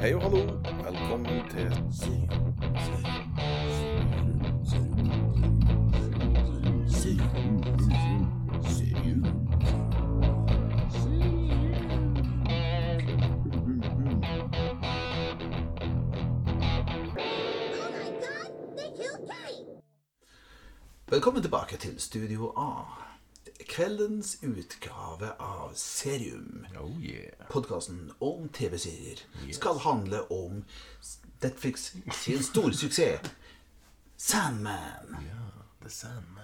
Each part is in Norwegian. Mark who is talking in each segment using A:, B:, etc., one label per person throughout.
A: Hei og hallo. Velkommen til
B: Velkommen tilbake til Studio A. Kveldens utgave av Serium,
A: Oh yeah.
B: podkasten om TV-serier, skal handle om Netflix sin store suksess, Sandman.
A: The Sandman.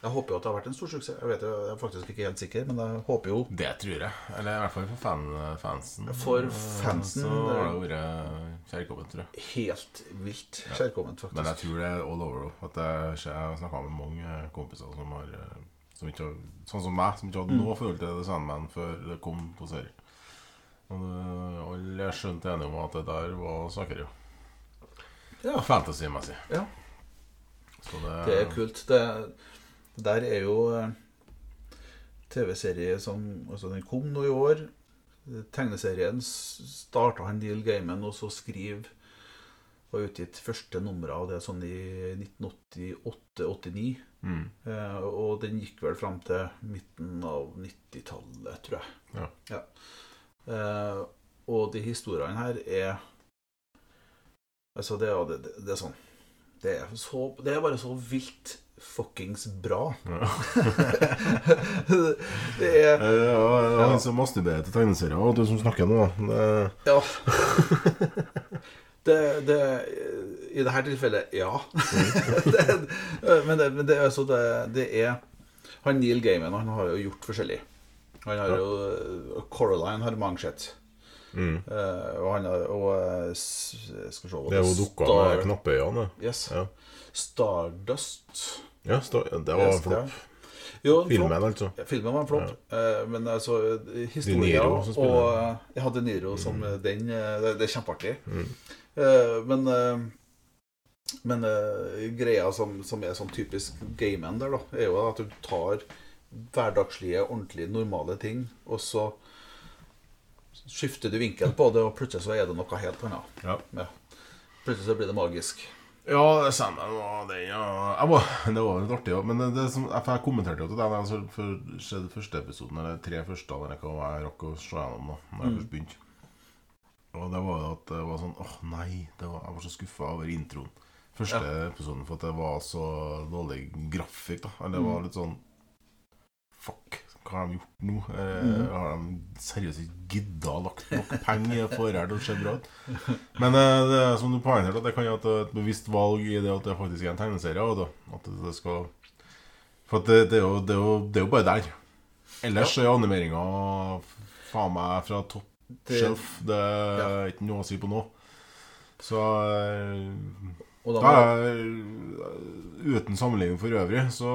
B: Jeg håper jo at det har vært en stor suksess. Jeg vet jo, jeg er faktisk ikke helt sikker, men jeg håper jo
A: Det tror jeg. Eller i hvert fall for fan, fansen.
B: For fansen,
A: Mm, Så
B: det
A: har
B: er
A: det vært kjærkomment, tror jeg.
B: helt vilt kjærkomment,
A: Men jeg
B: faktisk.
A: tror det er all over. da. At jeg, jeg har snakka med mange kompiser som har eh, som ikke, har- Sånn som meg, som ikke
B: Mm.
A: hadde noe forhold til The Sandman før det kom på serie. Og det- alle er skjønt enige om at det der var saker, jo.
B: Ja.
A: Fantasy-messig.
B: Ja.
A: Så det,
B: Det er kult. Det, det der er jo eh, TV-serie som altså Den kom nå i år. Tegneserien starta han Neil Gaiman og så skriv Var utgitt første nummeret av det sånn i 1988-89.
A: Mm.
B: Eh, og den gikk vel fram til midten av 90-tallet, tror jeg.
A: Ja.
B: Eh, og de historiene her er Altså, det, er- det, det er sånn det er, så, det er bare så vilt fuckings bra.
A: Ja.
B: det er
A: Eh, Ja, det er han som masturberer til tegneserier, og du som snakker nå. da. Eh,
B: Ja. Det, det, eh, I dette tilfellet, ja. det, men det, men det, er altså, det, det er Han Neil Gaiman han har jo gjort forskjellig. Han har jo eh, Coraline har mange sett.
A: Det, mm.
B: Eh, og han har og, eh, s- Skal vi se hva
A: det er jo
B: er.
A: dukka
B: Star-
A: med knappeøyene.
B: Yes.
A: Ja.
B: Stardust.
A: Ja, sta- det var
B: Yes,
A: en flopp.
B: Jo, en flopp.
A: Filmen, altså.
B: Ja, Filmen var en flopp, eh, men altså eh, historien
A: De Niro som spiller. Mm.
B: og eh, Jeg hadde Niro som eh, den. eh, Det, det er kjempeartig. Eh, Men, eh, men eh, greia som, som er sånn typisk gamen der, da, er jo at du tar hverdagslige, ordentlig normale ting, og så skifter du vinkel på det, og plutselig så er det noe helt annet.
A: Ja.
B: Ja. Plutselig så blir det magisk.
A: Ja, Sandman var den, ja. Jeg var, det var litt artig, ja. Men det, det som, jeg, for jeg kommenterte jo til den altså, for skjedde første episoden, eller tre første, eller hva var jeg rakk å se gjennom da når jeg først begynte. Og det var jo at det var sånn åh nei, det var, jeg var så skuffa over introen. Første episoden, for at det var så dårlig grafikk, da. Eller det var litt sånn Fuck, hva har de gjort nå? Eh, Har de seriøst ikke gidda å lagt nok penger i et forhold til å se bra ut? Men eh, det er som du poengterte, at det kan jo være et bevisst valg i det at det faktisk er en tegneserie. og Da, at det- det skal For at det, det, er jo, det, er jo, det er jo bare der. Ellers er animeringa faen meg fra topp
B: Det-
A: shelf. Det er ikke noe å si på nå. Så eh,
B: Og da
A: da
B: var
A: er, uten sammenligning for øvrig, så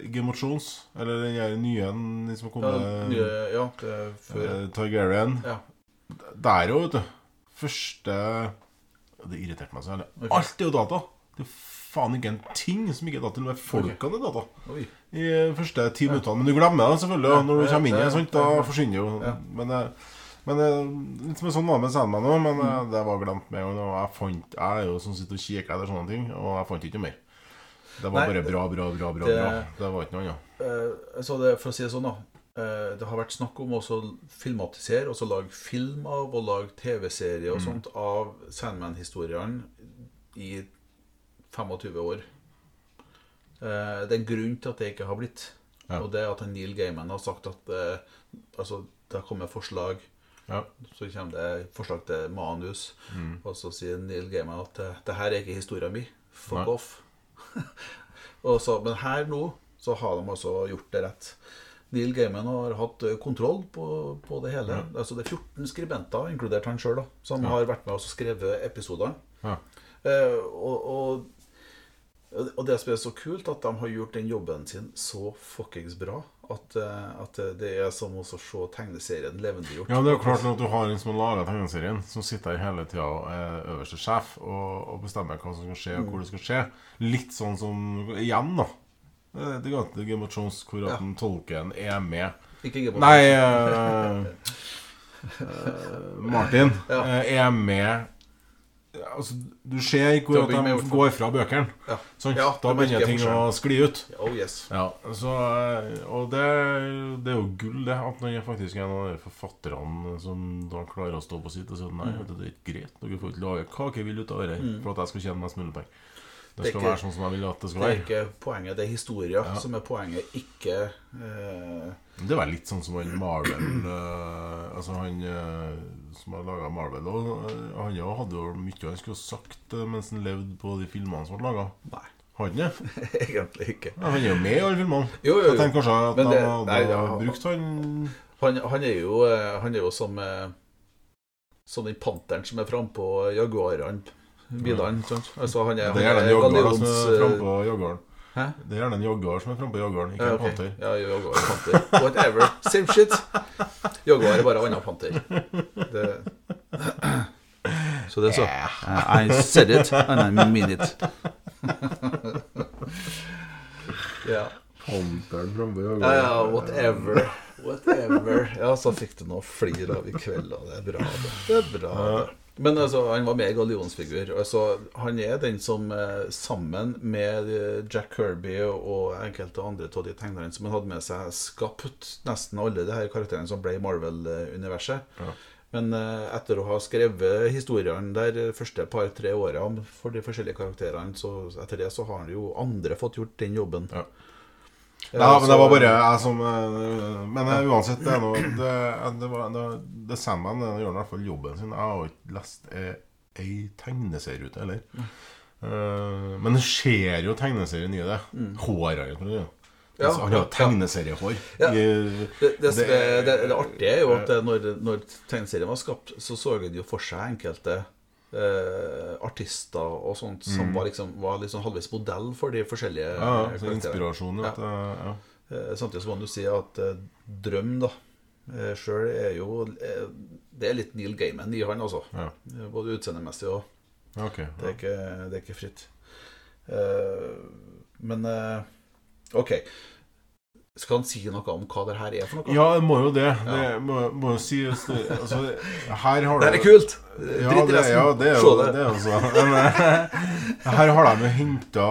A: eh, Game of Thrones, eller den her nye en, den som
B: ja,
A: har kommet
B: nye, ja, det, er før,
A: eh, Targaryen
B: ja.
A: Der jo, vet du. Første Det irriterte meg så jævlig. Alt er jo data. Det er faen ikke en ting som ikke er data. Til og med folkene er data.
B: Oi.
A: I første ti minuttene. Men du glemmer det selvfølgelig
B: Ja,
A: når du
B: ja,
A: kommer inn
B: ja,
A: igjen. sant?
B: ja, ja.
A: Da forsvinner jo Men, eh, men eh, litt som en sånn var det med Sandman òg, men eh,
B: Mm.
A: det var glemt med en gang. og Jeg fant Jeg er jo sånn sitter og kikker etter sånne ting, og jeg fant ikke mer. Det var
B: Nei,
A: bare bra, bra, bra, bra.
B: det-
A: bra. Det var ikke noe annet.
B: Eh, så det, for å si det sånn da eh, Det har vært snakk om også å filmatisere Og så lage film av Og lage tv-serier og sånt Av Sandman-historien I 25 år Eh, Det er en grunn til at det ikke har blitt
A: Ja.
B: Og det er at Neil Gaiman har sagt at eh, Altså, det kommer forslag
A: Ja.
B: så kommer det forslag til manus,
A: Mm.
B: og så sier Neil Gaiman at eh, det her er ikke historien min. Fuck
A: Nei.
B: off. og så, men her nå så har de altså gjort det rett. Neil Gaiman har hatt eh, kontroll på, på det hele. Altså Det er 14 skribenter, inkludert han sjøl, som har vært med og skrevet episodene.
A: ja.
B: Eh, og, og, og det som er så kult, at de har gjort den jobben sin så fuckings bra at, eh, at det er som å se tegneserien levendegjort.
A: Ja, men det er jo klart at du har en som har laga tegneserien, som sitter her hele tida og er øverste sjef og, og bestemmer hva som skal skje, og hvor det skal skje. Litt sånn som Igjen, da. Eh, Det går til Game of Thrones, hvor at den tolken er med.
B: Ikke Game of
A: Nei eh, eh, Martin
B: Ja.
A: eh, er med Altså, du ser
B: Til
A: hvor
B: å
A: at
B: begynne med, i
A: de
B: hvert fall.
A: går fra bøkene.
B: Ja.
A: sant?
B: Ja,
A: da
B: det merker
A: begynner
B: jeg
A: ting å
B: forskjellen.
A: skli ut.
B: Oh yes.
A: Ja, så, eh, Og det, det er jo gull, det. At han er faktisk en av de forfatterne som da klarer å stå på sitt og si at
B: Mm.
A: nei, vet du, det er ikke greit. Dere får ikke lage hva dere vil ut av dette for at jeg skal tjene mest mulig penger. Det
B: Det er
A: skal
B: ikke-
A: være sånn som jeg vil at det skal
B: Det er
A: være.
B: ikke poenget, det er historier som er poenget, ikke eh,
A: Det var litt sånn som han Marvel eh, Altså han eh, som har laga Marvel og, eh, Han jo hadde jo mye han skulle ha sagt eh, mens han levde på de filmene som ble laga.
B: Nei,
A: Han ja. Ja,
B: egentlig ikke.
A: han er jo med i alle filmene.
B: Jo, jo,
A: Jeg
B: jo.
A: tenker kanskje at
B: Men
A: de
B: det-
A: hadde
B: nei, ja.
A: brukt han
B: Han, han, er jo, eh, han er jo som eh, Som den panteren som er frampå Jaguarene, bilene. ikke sant? Altså, han er, eh,
A: Mm. Det er
B: han
A: gjerne en joggar da, som er frampå joggaren.
B: Hæ?
A: Det er gjerne en joggar som er frampå joggaren, ikke
B: Ja,
A: en
B: ok.
A: panter.
B: Ja, Jaguar og panter. Whatever. Same shit. Jaguar er bare annen panter. Det... Så det er så. I said it, and I mean it. ja.
A: Panteren frampå
B: Ja, ja, whatever. Whatever. Ja, så fikk du noe flir av i kveld, og det er bra. Det, det er bra. Det. Men altså, han var med i gallionsfigur. Altså, han er den som eh, sammen med eh, Jack Kirby og enkelte andre av de tegnerne som han hadde med seg, skapt nesten alle de her karakterene som ble i Marvel-universet. Men eh, etter å ha skrevet historiene der eh, første par-tre åra for de forskjellige karakterene, så etter det så har jo andre fått gjort den jobben.
A: Ja. Ja,
B: så-
A: men det var bare jeg som eh, Men eh, uansett, det er noe Det, det, var, det, det Sandman eh, gjør i hvert fall jobben sin. Jeg har jo ikke lest eh, ei tegneserie ute heller.
B: Mm.
A: Eh, men det skjer jo tegneserien i det. Håret hans. Ja.
B: Mm. Ja,
A: Altså, han har jo
B: ja.
A: tegneseriehår.
B: Ja.
A: I-
B: Det, det, som
A: Det-
B: er- det, det artige er jo at det, når, når tegneserien var skapt, så så en jo for seg enkelte eh, artister og sånt som var, liksom, var liksom halvveis modell for de forskjellige
A: Mm. ja,
B: eh,
A: så inspirasjonen. At,
B: Ja.
A: eh, ja.
B: Eh, Samtidig så må du si at eh, Drøm da eh, sjøl er jo eh, Det er litt Neil Gaiman i han, altså.
A: Ja.
B: Eh, Både utseendemessig og
A: Ja, ok.
B: det er ikke, det er ikke fritt. Eh, men eh, OK. Skal han si noe om hva det her er for noe?
A: Ja, det må jo det. Det må, må jo sies. det- Altså, her har
B: Det her
A: du-
B: er kult!
A: Ja,
B: Dritt i
A: det,
B: resten.
A: ja, det er
B: Se
A: jo
B: det.
A: det. Er jo så. Men, eh, her har de jo henta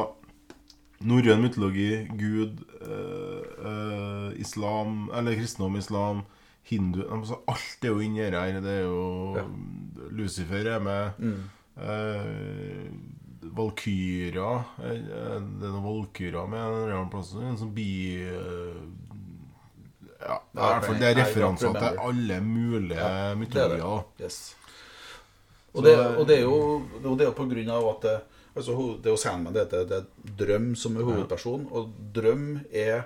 A: norrøn mytologi, Gud, eh, eh, islam Eller kristendom, islam, hindu altså, Alt er jo inni det her. Det er jo Lucifer er med. Mm. Valkyra eh, Det er noen valkyra med en eller annen plass. En sånn bi... eh, ja, det er, i hvert fall- det er
B: I don't
A: referanser til
B: remember.
A: alle mulige
B: Ja, det er det.
A: mytologier. da.
B: Yes. Og det,
A: Så-
B: og det er jo og det er jo på grunn av at det, altså, ho- det er jo Sandman, det heter det er Drøm som er hovedperson, og Drøm er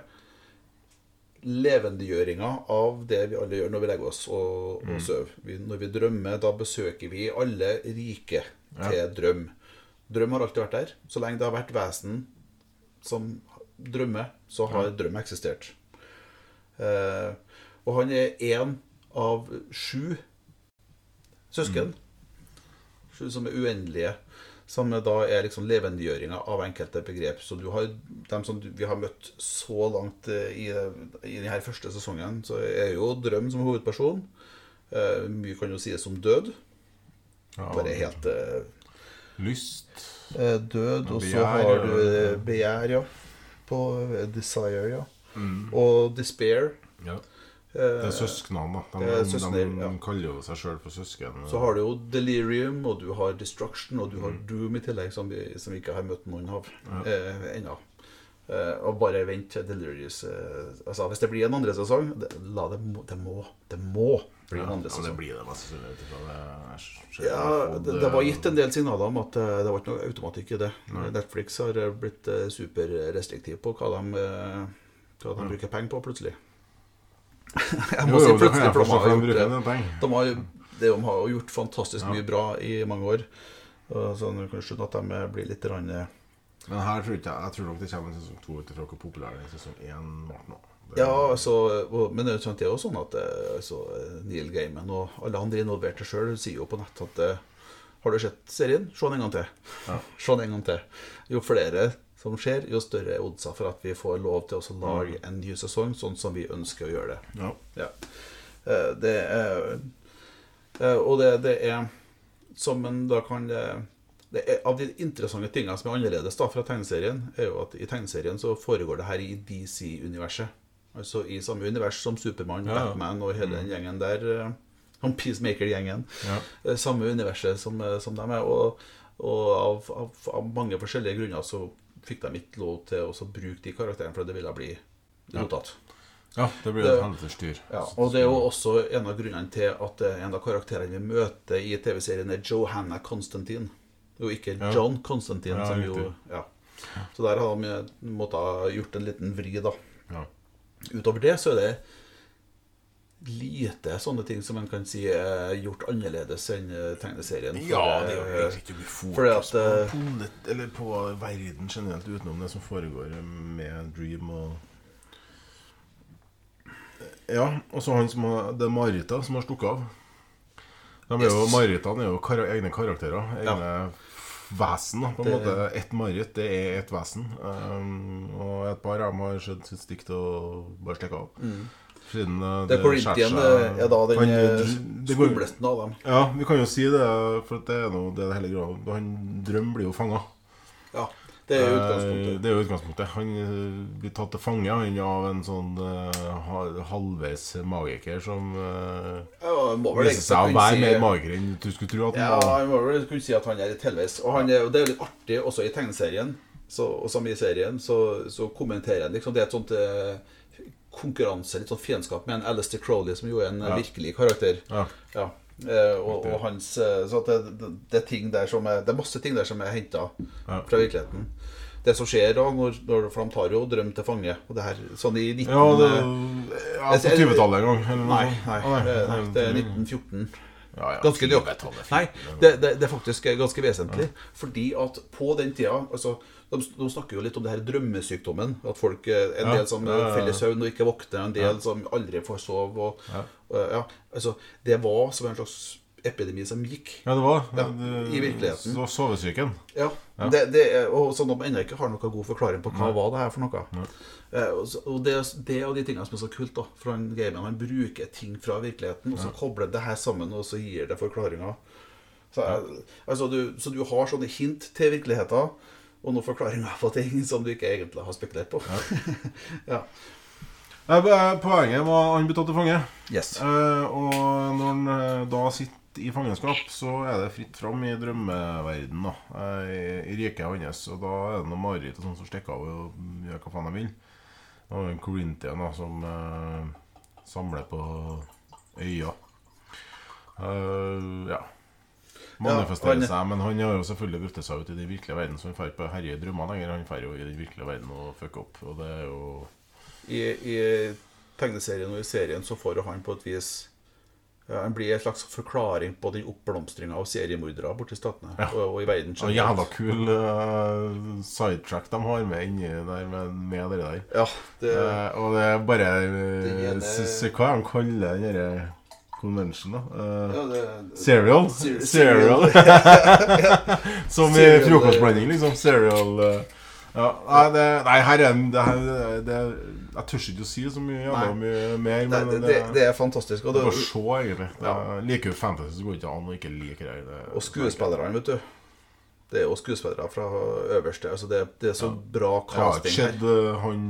B: levendegjøringa av det vi alle gjør når vi legger oss og, og sover. Vi, når vi drømmer, da besøker vi alle rike til drøm. Drøm har alltid vært der. Så lenge det har vært vesen som drømmer, så har drøm eksistert. Eh, og han er én av sju søsken. Sju som er uendelige. Som da er liksom levendegjøringa av enkelte begrep. Så du har dem som du, vi har møtt så langt eh, i, i denne første sesongen, så er jo Drøm som hovedperson. Eh, mye kan jo sies om død.
A: Ja,
B: Bare helt eh,
A: Lyst.
B: eh, død, og så
A: Begjær,
B: har du
A: ja.
B: eh, begjær, ja. På eh, desire, ja. Og despair.
A: Ja.
B: eh,
A: Mm. Det er søsknene, da. De,
B: det er
A: de,
B: søsken, ja.
A: kaller jo seg sjøl for søsken.
B: Så har du jo delirium, og du har destruction, og du har
A: Mm.
B: doom i tillegg, som vi, som vi ikke har møtt noen av eh, ennå. Eh, og bare vent til delirious eh, Altså, hvis det blir en andre sesong, det, la det, må- det må Det må bli
A: ja,
B: en andre
A: ja, det
B: sesong.
A: blir det mest sannsynlig. ut ifra det jeg ser-
B: Ja,
A: og
B: det, det var gitt en del signaler om at eh, det var ikke noe automatikk i det. Netflix har eh, blitt eh, superrestriktiv på hva de, eh, hva de bruker penger på, plutselig. Jeg
A: Jo,
B: må
A: jo,
B: si
A: det kan
B: plutselig,
A: jeg
B: for de
A: forstå,
B: har
A: for de
B: gjort
A: bruker
B: det.
A: en del penger.
B: De har, de har jo gjort fantastisk mye bra i mange år. Og Så du kan skjønne at de blir litt rann, eh,
A: Men her tror ikke jeg, jeg tror nok det kommer en sesong to ut ifra hvor populær den sesong én ble nå. Det-
B: Ja, altså, og- men det er jo sant, det er jo sånn at eh, altså, Neil Gaiman og alle andre involverte sjøl sier jo på nett at eh, Har du sett serien? Se den en gang til. Se den en gang til. Jo flere som skjer, jo større er oddsa for at vi får lov til å også lage en ny sesong sånn som vi ønsker å gjøre det.
A: Ja.
B: Ja. Eh, Det er Eh, og det, det er som en da kan eh, det er, Av de interessante tingene som er annerledes da fra tegneserien, er jo at i tegneserien så foregår det her i DC-universet. Altså i samme univers som Supermann,
C: ja.
B: Batman og hele den gjengen der. eh, Han Peacemaker-gjengen.
A: Ja.
B: Eh, Samme universet som, eh, som dem er. Og, og av, av, av mange forskjellige grunner så fikk de ikke lov til å så bruke de karakterene, for det ville bli rotet.
A: Ja, det blir
B: Det-
A: et helvetes styr.
B: Ja, og det er jo også en av grunnene til at eh, en av karakterene vi møter i TV-serien, er Johanna Constantine. Og ikke
A: Ja.
B: John Constantine,
A: Ja,
B: som
A: riktig.
B: jo Ja. Så der har de måttet gjort en liten vri, da.
A: Ja.
B: Utover det så er det lite sånne ting som en kan si er gjort annerledes enn eh, tegneserien.
A: Ja, det er jo
B: eh,
A: egentlig ikke mye fokus
B: fordi at, eh,
A: på, polit- eller på verden generelt, utenom det som foregår med Dream og Ja, og så han som har Det er Marita som har stukket av. De er jo,
B: Yes.
A: Maritene er jo kar egne karakterer. Egne vesen, da, på en
B: Det-
A: måte. Et mareritt, det er et vesen. Um, og et par av dem har skjønt sitt stikk til å bare stikke av. Siden uh,
B: Mm. det er Corinthian eh, er da den
A: Kan-
B: eh,
A: det går-
B: skumleste av dem.
A: ja, vi kan jo si det, for at det er noe, det er det hele greia. Han Drøm blir jo fanga.
B: Ja, det er jo utgangspunktet.
A: Det er jo utgangspunktet. Han eh, blir tatt til fange han, av en sånn eh, ha- halvveis magiker som eh,
B: Ja, må vel
A: viser
B: egentlig
A: seg å
B: kunne
A: være
B: si-
A: mer magiker enn du skulle tro at han
B: Ja,
A: var.
B: han må vel kunne si at han er litt helveis. Og, han er, og det er jo litt artig også i tegneserien, så, og som i serien, så, så kommenterer han liksom Det er et sånt eh, konkurranse, litt sånn fiendskap med en Alistair Crowley, som jo er en eh,
A: Ja.
B: virkelig karakter.
A: Ja.
B: Ja. Eh, og, og hans eh, Så at det, det, det, er ting der som er, det er masse ting der som er henta
A: Ja.
B: fra virkeligheten. Det som skjer da, når, når for de tar jo drøm til fange og det her, Sånn i 19...
A: Ja, det,
B: eh,
A: ja på 20-tallet en gang. Eller noe
B: Nei,
A: sånt.
B: nei,
A: Ah,
B: det, nei, det er
A: nei.
B: 1914.
A: Ja, ja,
B: Ganske nøyaktig.
A: 20-tallet, fint.
B: Nei, det, det, det er faktisk eh, ganske vesentlig. Fordi at på den tida altså, de, de snakker jo litt om det her drømmesykdommen. At folk, eh, En
A: Ja,
B: del som
A: ja, ja, ja.
B: eh, feller søvn og ikke våkner, en del som aldri får sove. Og, og, ja, altså, det var som en slags epidemi som gikk.
A: Ja, det var
B: Ja,
A: det-
B: i virkeligheten.
A: Så sovesyken.
B: Ja, Det, det, er- og sånn at de ennå ikke har noen god forklaring på hva var det her for noe. Eh, og så- Og det, det er jo de tingene som er så kult, da. For han gamen han bruker ting fra virkeligheten, og så kobler det her sammen, og så gir det forklaringer. Så, jeg- altså, du, så du har sånne hint til virkeligheten, og noen forklaringer på ting som du ikke egentlig har spekulert på. Ja.
A: Nei, po- Poenget var han ble tatt til fange.
B: Yes.
A: Eh, og når han eh, da sitter i fangenskap, så er det fritt fram i drømmeverden da. eh, I, i riket hans. Og da er det noe mareritt og sånn som stikker av og gjør hva faen de vil. Og en Corinthian da, som eh, samler på øya. Eh, ja.
B: Ja,
A: Manifesterer
B: han-
A: seg, men han har jo selvfølgelig brutt seg ut i den virkelige verden, så han drar ikke på herje i drømmene lenger. Han drar jo i den virkelige verden og fucker opp, og det er jo
B: I, I tegneserien og i serien så får jo han på et vis ja, Han blir en slags forklaring på den oppblomstringa av seriemordere borti statene og, og i verden
A: Så jævla kul eh, sidetrack de har med inni der, med, med det der.
B: Ja, det,
A: Eh, og det er bare
B: Den
A: uh,
B: ene-
A: Hva er det de kaller den derre convention, da? Eh,
B: ja, det
A: Cereal?
B: Cere-
A: Cereal. Som i
B: Cereal,
A: frokostblanding, liksom. Cereal eh, ja. Nei, det, nei, her er den det, her- det, Jeg tør ikke å si så mye, jævla mye
B: Nei,
A: mer, men
B: det,
A: det,
B: det, det er fantastisk. Og,
A: du får
B: det,
A: se, egentlig. Det, Liker du fantasy, så går det ikke an å ikke like det. det
B: og skuespillerne, vet du. Det er jo skuespillere fra øverste. Altså det, det er så bra
A: Jeg har ikke
B: casting. her.
A: sett eh, han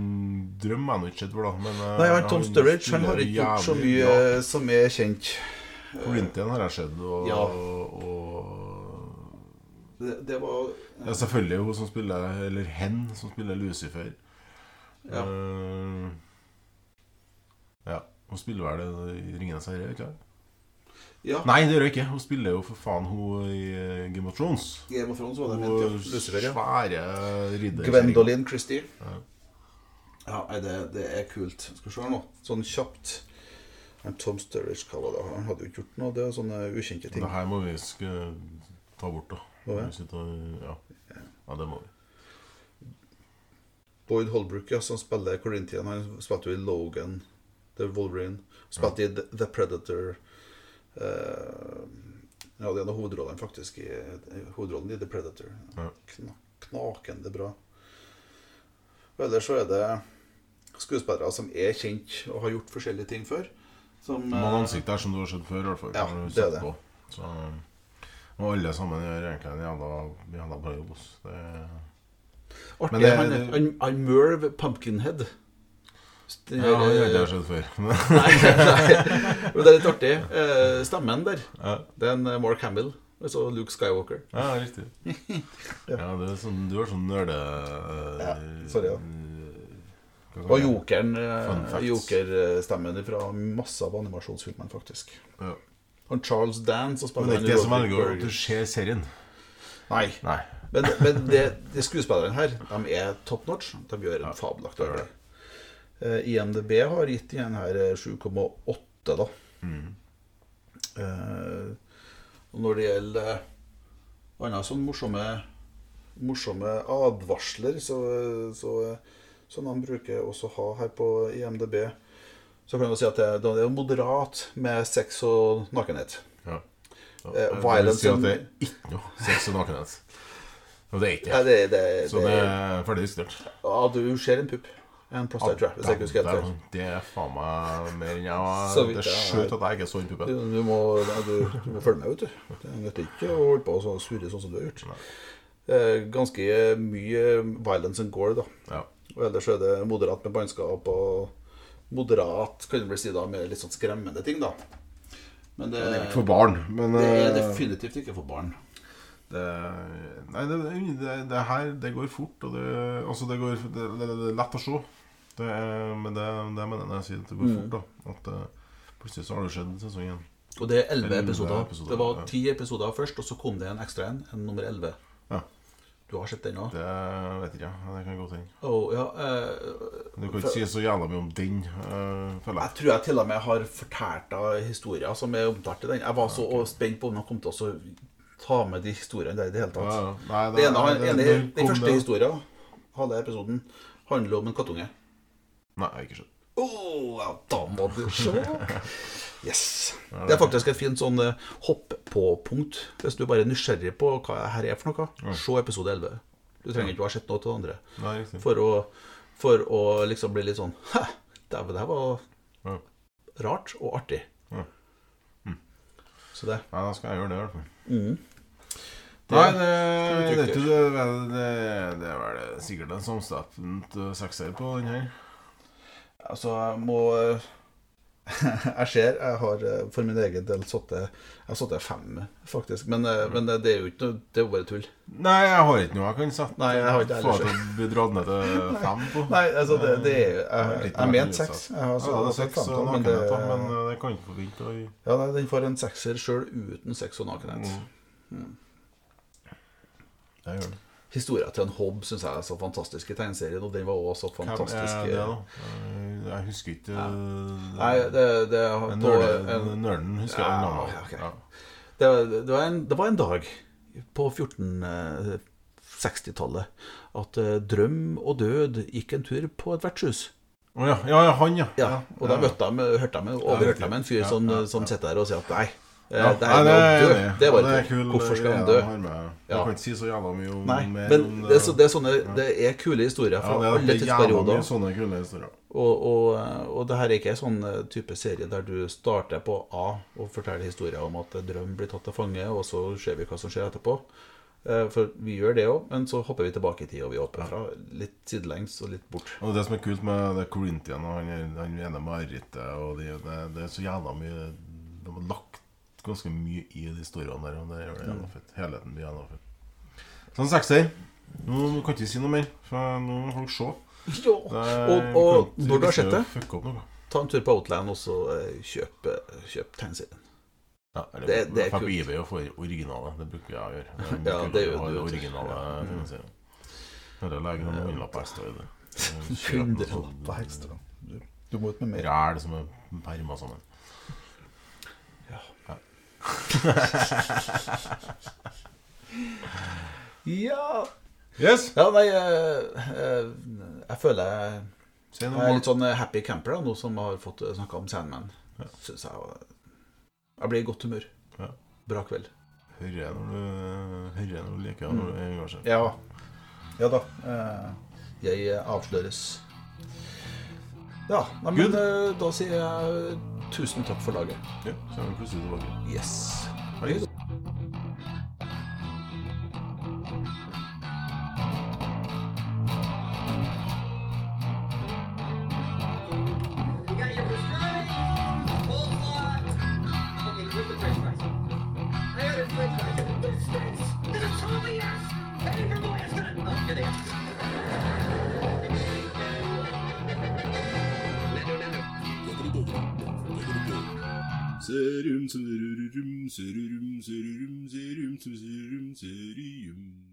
A: Drøm, jeg har ikke sett for da, men eh,
B: Nei, han Tom Sturridge han
A: spiller
B: har ikke gjort så
A: jævlig
B: mye
A: bra.
B: eh, som er kjent.
A: Corinthian har jeg sett, og,
B: Ja.
A: og, og
B: Det, det var
A: ja, Selvfølgelig hun som spiller Eller hen som spiller Lucifer.
B: Ja.
A: Eh, ja. Hun spiller vel i Ringenes herre, ikke sant?
B: Ja,
A: Nei, det gjør hun ikke. Hun spiller jo for faen hun i eh, Game of Thrones.
B: Game of Thrones var det
A: Hun
B: ment, ja. Lucifer, ja.
A: svære ridder...
B: Gwendolyn Christie. Ja, nei, det, det er kult. Skal vi se her nå. Sånn kjapt. Han Tom Sturridge, hva var det? Han hadde jo ikke gjort noe. Det er sånne ukjente ting.
A: Det her må vi sk ta bort, da.
B: Må vi?
A: Vi sitter og- Ja. ja, det må vi.
B: Boyd Holbrook, ja, som spiller Corinthian, han spilte jo i Logan, The Wolverine. Spilte i The- The Predator. Eh, ja, det er en av hovedrollene, faktisk. I, i hovedrollen i The Predator.
A: Ja.
B: Kna, knakende bra. Og ellers så er det skuespillere som er kjent og har gjort forskjellige ting før. Som, eh,
A: Mange ansikter som du har sett før, i hvert fall.
B: Ja,
A: kan du
B: det er
A: sette på. Så, og alle sammen gjør egentlig en jævla, jævla bra jobb. ass. Det er-
B: Artig,
A: Men det-
B: han, han, han Merv Pumpkinhead. Den
A: Ja, det har
B: her,
A: jeg sett før. Men,
B: Nei, nei. Men det er litt artig. Eh, Stemmen der,
A: ja,
B: det er en eh, Mark Hamill. Altså Luke Skywalker.
A: ja, riktig. Ja, det er sånn, du er sånn nerde... eh,
B: Ja, sorry, ja. Og
A: Hva kaller jeg det?
B: jokeren,
A: Fun
B: eh,
A: facts.
B: jokerstemmen fra masse av animasjonsfilmene, faktisk.
A: Ja.
B: Og Charles Dance og
A: Men det er ikke
B: i
A: det som
B: Roderick
A: velger at
B: Burger.
A: du ser serien.
B: Nei.
A: Nei.
B: Men, men det, de skuespillerne her, de er top notch. De gjør en fabelaktig
A: gjør
B: arbeid. Eh, IMDb har gitt igjen her eh, 7,8, da.
A: Mm.
B: Eh, og når det gjelder eh, andre sånne morsomme, morsomme advarsler, så, så, som de bruker også ha her på IMDb, så kan man si at det, det er jo moderat med sex og nakenhet.
A: Ja. Ja.
B: Eh,
A: Det vil
B: violence
A: si at
B: and-
A: det er ikke noe sex og nakenhet. Og det er ikke
B: Nei,
A: det.
B: det, det,
A: Så det er ferdig diskutert.
B: Ja, du ser en pupp. En prostitute, hvis jeg ikke husker helt
A: Det
B: feil.
A: er- Det er faen meg mer enn jeg var.
B: Så vidt
A: Det er
B: jeg
A: skjønt at jeg ikke så den
B: Du,
A: puppen.
B: du, må, nei, du, du må følge med, vet du. Det nytter ikke å holde på og så surre sånn som du har gjort. Eh, Ganske mye violence and gore, da.
A: Ja.
B: Og ellers er det moderat med bannskap og moderat, kan du vel si, da, med litt sånn skremmende ting, da. Men det,
A: Ikke for barn, men
B: det er
A: eh,
B: definitivt ikke for barn.
A: det- Nei, det, det, det her Det går fort, og det Altså, det går Det, det, det er lett å se. Det er, men det, det mener jeg når jeg sier at det går
B: Mm.
A: fort, da. At eh, plutselig så har det skjedd en sesong igjen.
B: Og det er elleve
A: Elleve
B: episoder.
A: episoder,
B: Det var
A: ja.
B: ti episoder først, og så kom det en ekstra en, en nummer elleve.
A: Ja.
B: Du har sett den òg?
A: Det vet ikke jeg. men Det kan godt hende.
B: Oh, ja, eh,
A: Men Du kan ikke si så jævla mye om den, eh, føler jeg.
B: Jeg tror jeg til og med har fortalt av historier som er omtalt i den. Jeg var så spent på om han kom til å ta med de historiene der i det hele
A: Ja,
B: tatt.
A: ja. Nei, det-
B: Det ene,
A: nei,
B: han-
A: det-
B: ene,
A: det
B: den
A: kom
B: første
A: det-
B: historien, halve episoden, handler om en kattunge.
A: Nei, jeg har ikke skjønt.
B: Oh, ja, da må du se! Yes. Det er faktisk et fint sånn eh, hopp-på-punkt, hvis du bare er nysgjerrig på hva det her er for noe. Se episode 11. Du trenger ikke å ha sett noe til det andre.
A: Nei, riktig.
B: For å, for å liksom bli litt sånn Hæ, dæven, det her var
A: Ja.
B: rart og artig.
A: Ja.
B: Mm. Så det
A: Nei, da skal jeg gjøre det, i hvert fall.
B: Mhm.
A: Nei,
B: Det-
A: det,
B: trygt
A: det, det, det, det, det er vel sikkert en samstemt eh, sekser på den her.
B: Altså, jeg må Jeg ser jeg har eh, for min egen del sittet Jeg har sittet fem, faktisk. Men,
A: Mm.
B: eh, men det er jo ikke noe Det er jo bare tull.
A: Nei, jeg har ikke noe jeg kan sette
B: Nei, jeg har ikke det
A: få
B: heller
A: til å bli dratt ned til fem på.
B: Nei, altså, det, det er jo
A: Det er
B: Jeg,
A: litt
B: jeg mente
A: merkelig,
B: seks.
A: så.
B: Jeg har
A: ja, det er
B: sett
A: seks
B: fem,
A: og
B: men det,
A: nakenhet, da, men eh, det kan ikke forvente å Mm.
B: ja, nei, den får en sekser sjøl uten sex og nakenhet. Mm.
A: Det gjør det.
B: Historia til en Hobb syns jeg er så fantastisk i tegneserien, og den var også
A: Hvem
B: fantastisk.
A: er
B: i-
A: det, da? Eh, Jeg husker ikke eh,
B: Nei, det, det,
A: men
B: på,
A: nerde-
B: en,
A: Nerden husker jeg
B: Ja,
A: navnet
B: ja, ok.
A: Ja.
B: det, var- det, var en, det var en dag på 1460-tallet at eh, drøm og død gikk en tur på et vertshus.
A: Å ja, ja, ja, han, ja.
B: Ja, og da møtte jeg, hørte jeg med, overhørte jeg med en fyr
A: Ja,
B: som, eh,
A: ja, ja.
B: som sitter der og sier at nei, eh,
A: Ja,
B: det her med
A: nei,
B: å dø,
A: enig.
B: det er
A: Og
B: bare
A: er kul
B: Hvorfor skal han
A: greie
B: dø?
A: har med.
B: Ja.
A: Jeg kan ikke si så jævla mye om
B: Nei,
A: mer
B: men
A: om
B: det er, så, det, er sånne, det er kule historier fra
A: Ja, det er
B: alle
A: jævla altså. mye
B: tidsperioder.
A: sånne kule historier.
B: Og, og, og det her er ikke en sånn eh, type serie der du starter på A og forteller historier om at drøm blir tatt til fange, og så ser vi hva som skjer etterpå. Eh, For vi gjør det òg, men så hopper vi tilbake i tid, og vi hopper fra litt sidelengs og litt bort.
A: Og det som er kult med det Corinthian og han, er- han ene marerittet og de, det, det er så jævla mye De har lagt ganske mye i de historiene der, og det gjør det
B: Mm.
A: jævla fett. Helheten blir jævla fett. Sånn sekser. Nå kan ikke si noe mer, for nå må folk se. Det er-
B: Og, og
A: kan
B: når du har
A: ikke
B: sett det,
A: fucke opp noe.
B: ta en tur på Outland og så eh, kjøp, eh, kjøp tegneserien.
A: Ja, eller,
B: Det- det er
A: jeg får
B: kult.
A: på eBay og får originale. Det bruker jeg å gjøre. Det er mye
B: Ja,
A: kulere
B: det gjør
A: å ha
B: du, vet du.
A: Originale
B: Ja. Mm.
A: finansiering. Eller legge noen hundrelapper ekstra i det. Kjøp noe sånt
B: Hundrelapper ekstra. Du- Du må ut med mer.
A: Ræl som er perma sammen.
B: Ja
A: Yes!
B: Ja, nei, eh, eh, jeg føler jeg
A: Si
B: Jeg
A: noe
B: er
A: om
B: litt sånn happy camper da, nå som har fått snakka om Sandman. Synes jeg var- Jeg blir i godt humør.
A: Ja.
B: Bra kveld.
A: Hørre når du Hørre når du liker når du engasjerer.
B: Mm. Ja. eh, Ja da. Jeg avsløres. Ja, nei, men
D: Good.
B: eh, da sier jeg tusen takk for laget.
D: Ja, så er vi plutselig tilbake.
B: Yes.
D: Ha det.
C: We got your pastrami, coleslaw, okay, with the french fries. I got a french fries. This stinks! This is totally ass! I didn't remember what I said! Oh, here they are. Nando, nando.
A: Serum, serum, serum, serum, serum, serum, serum, serum.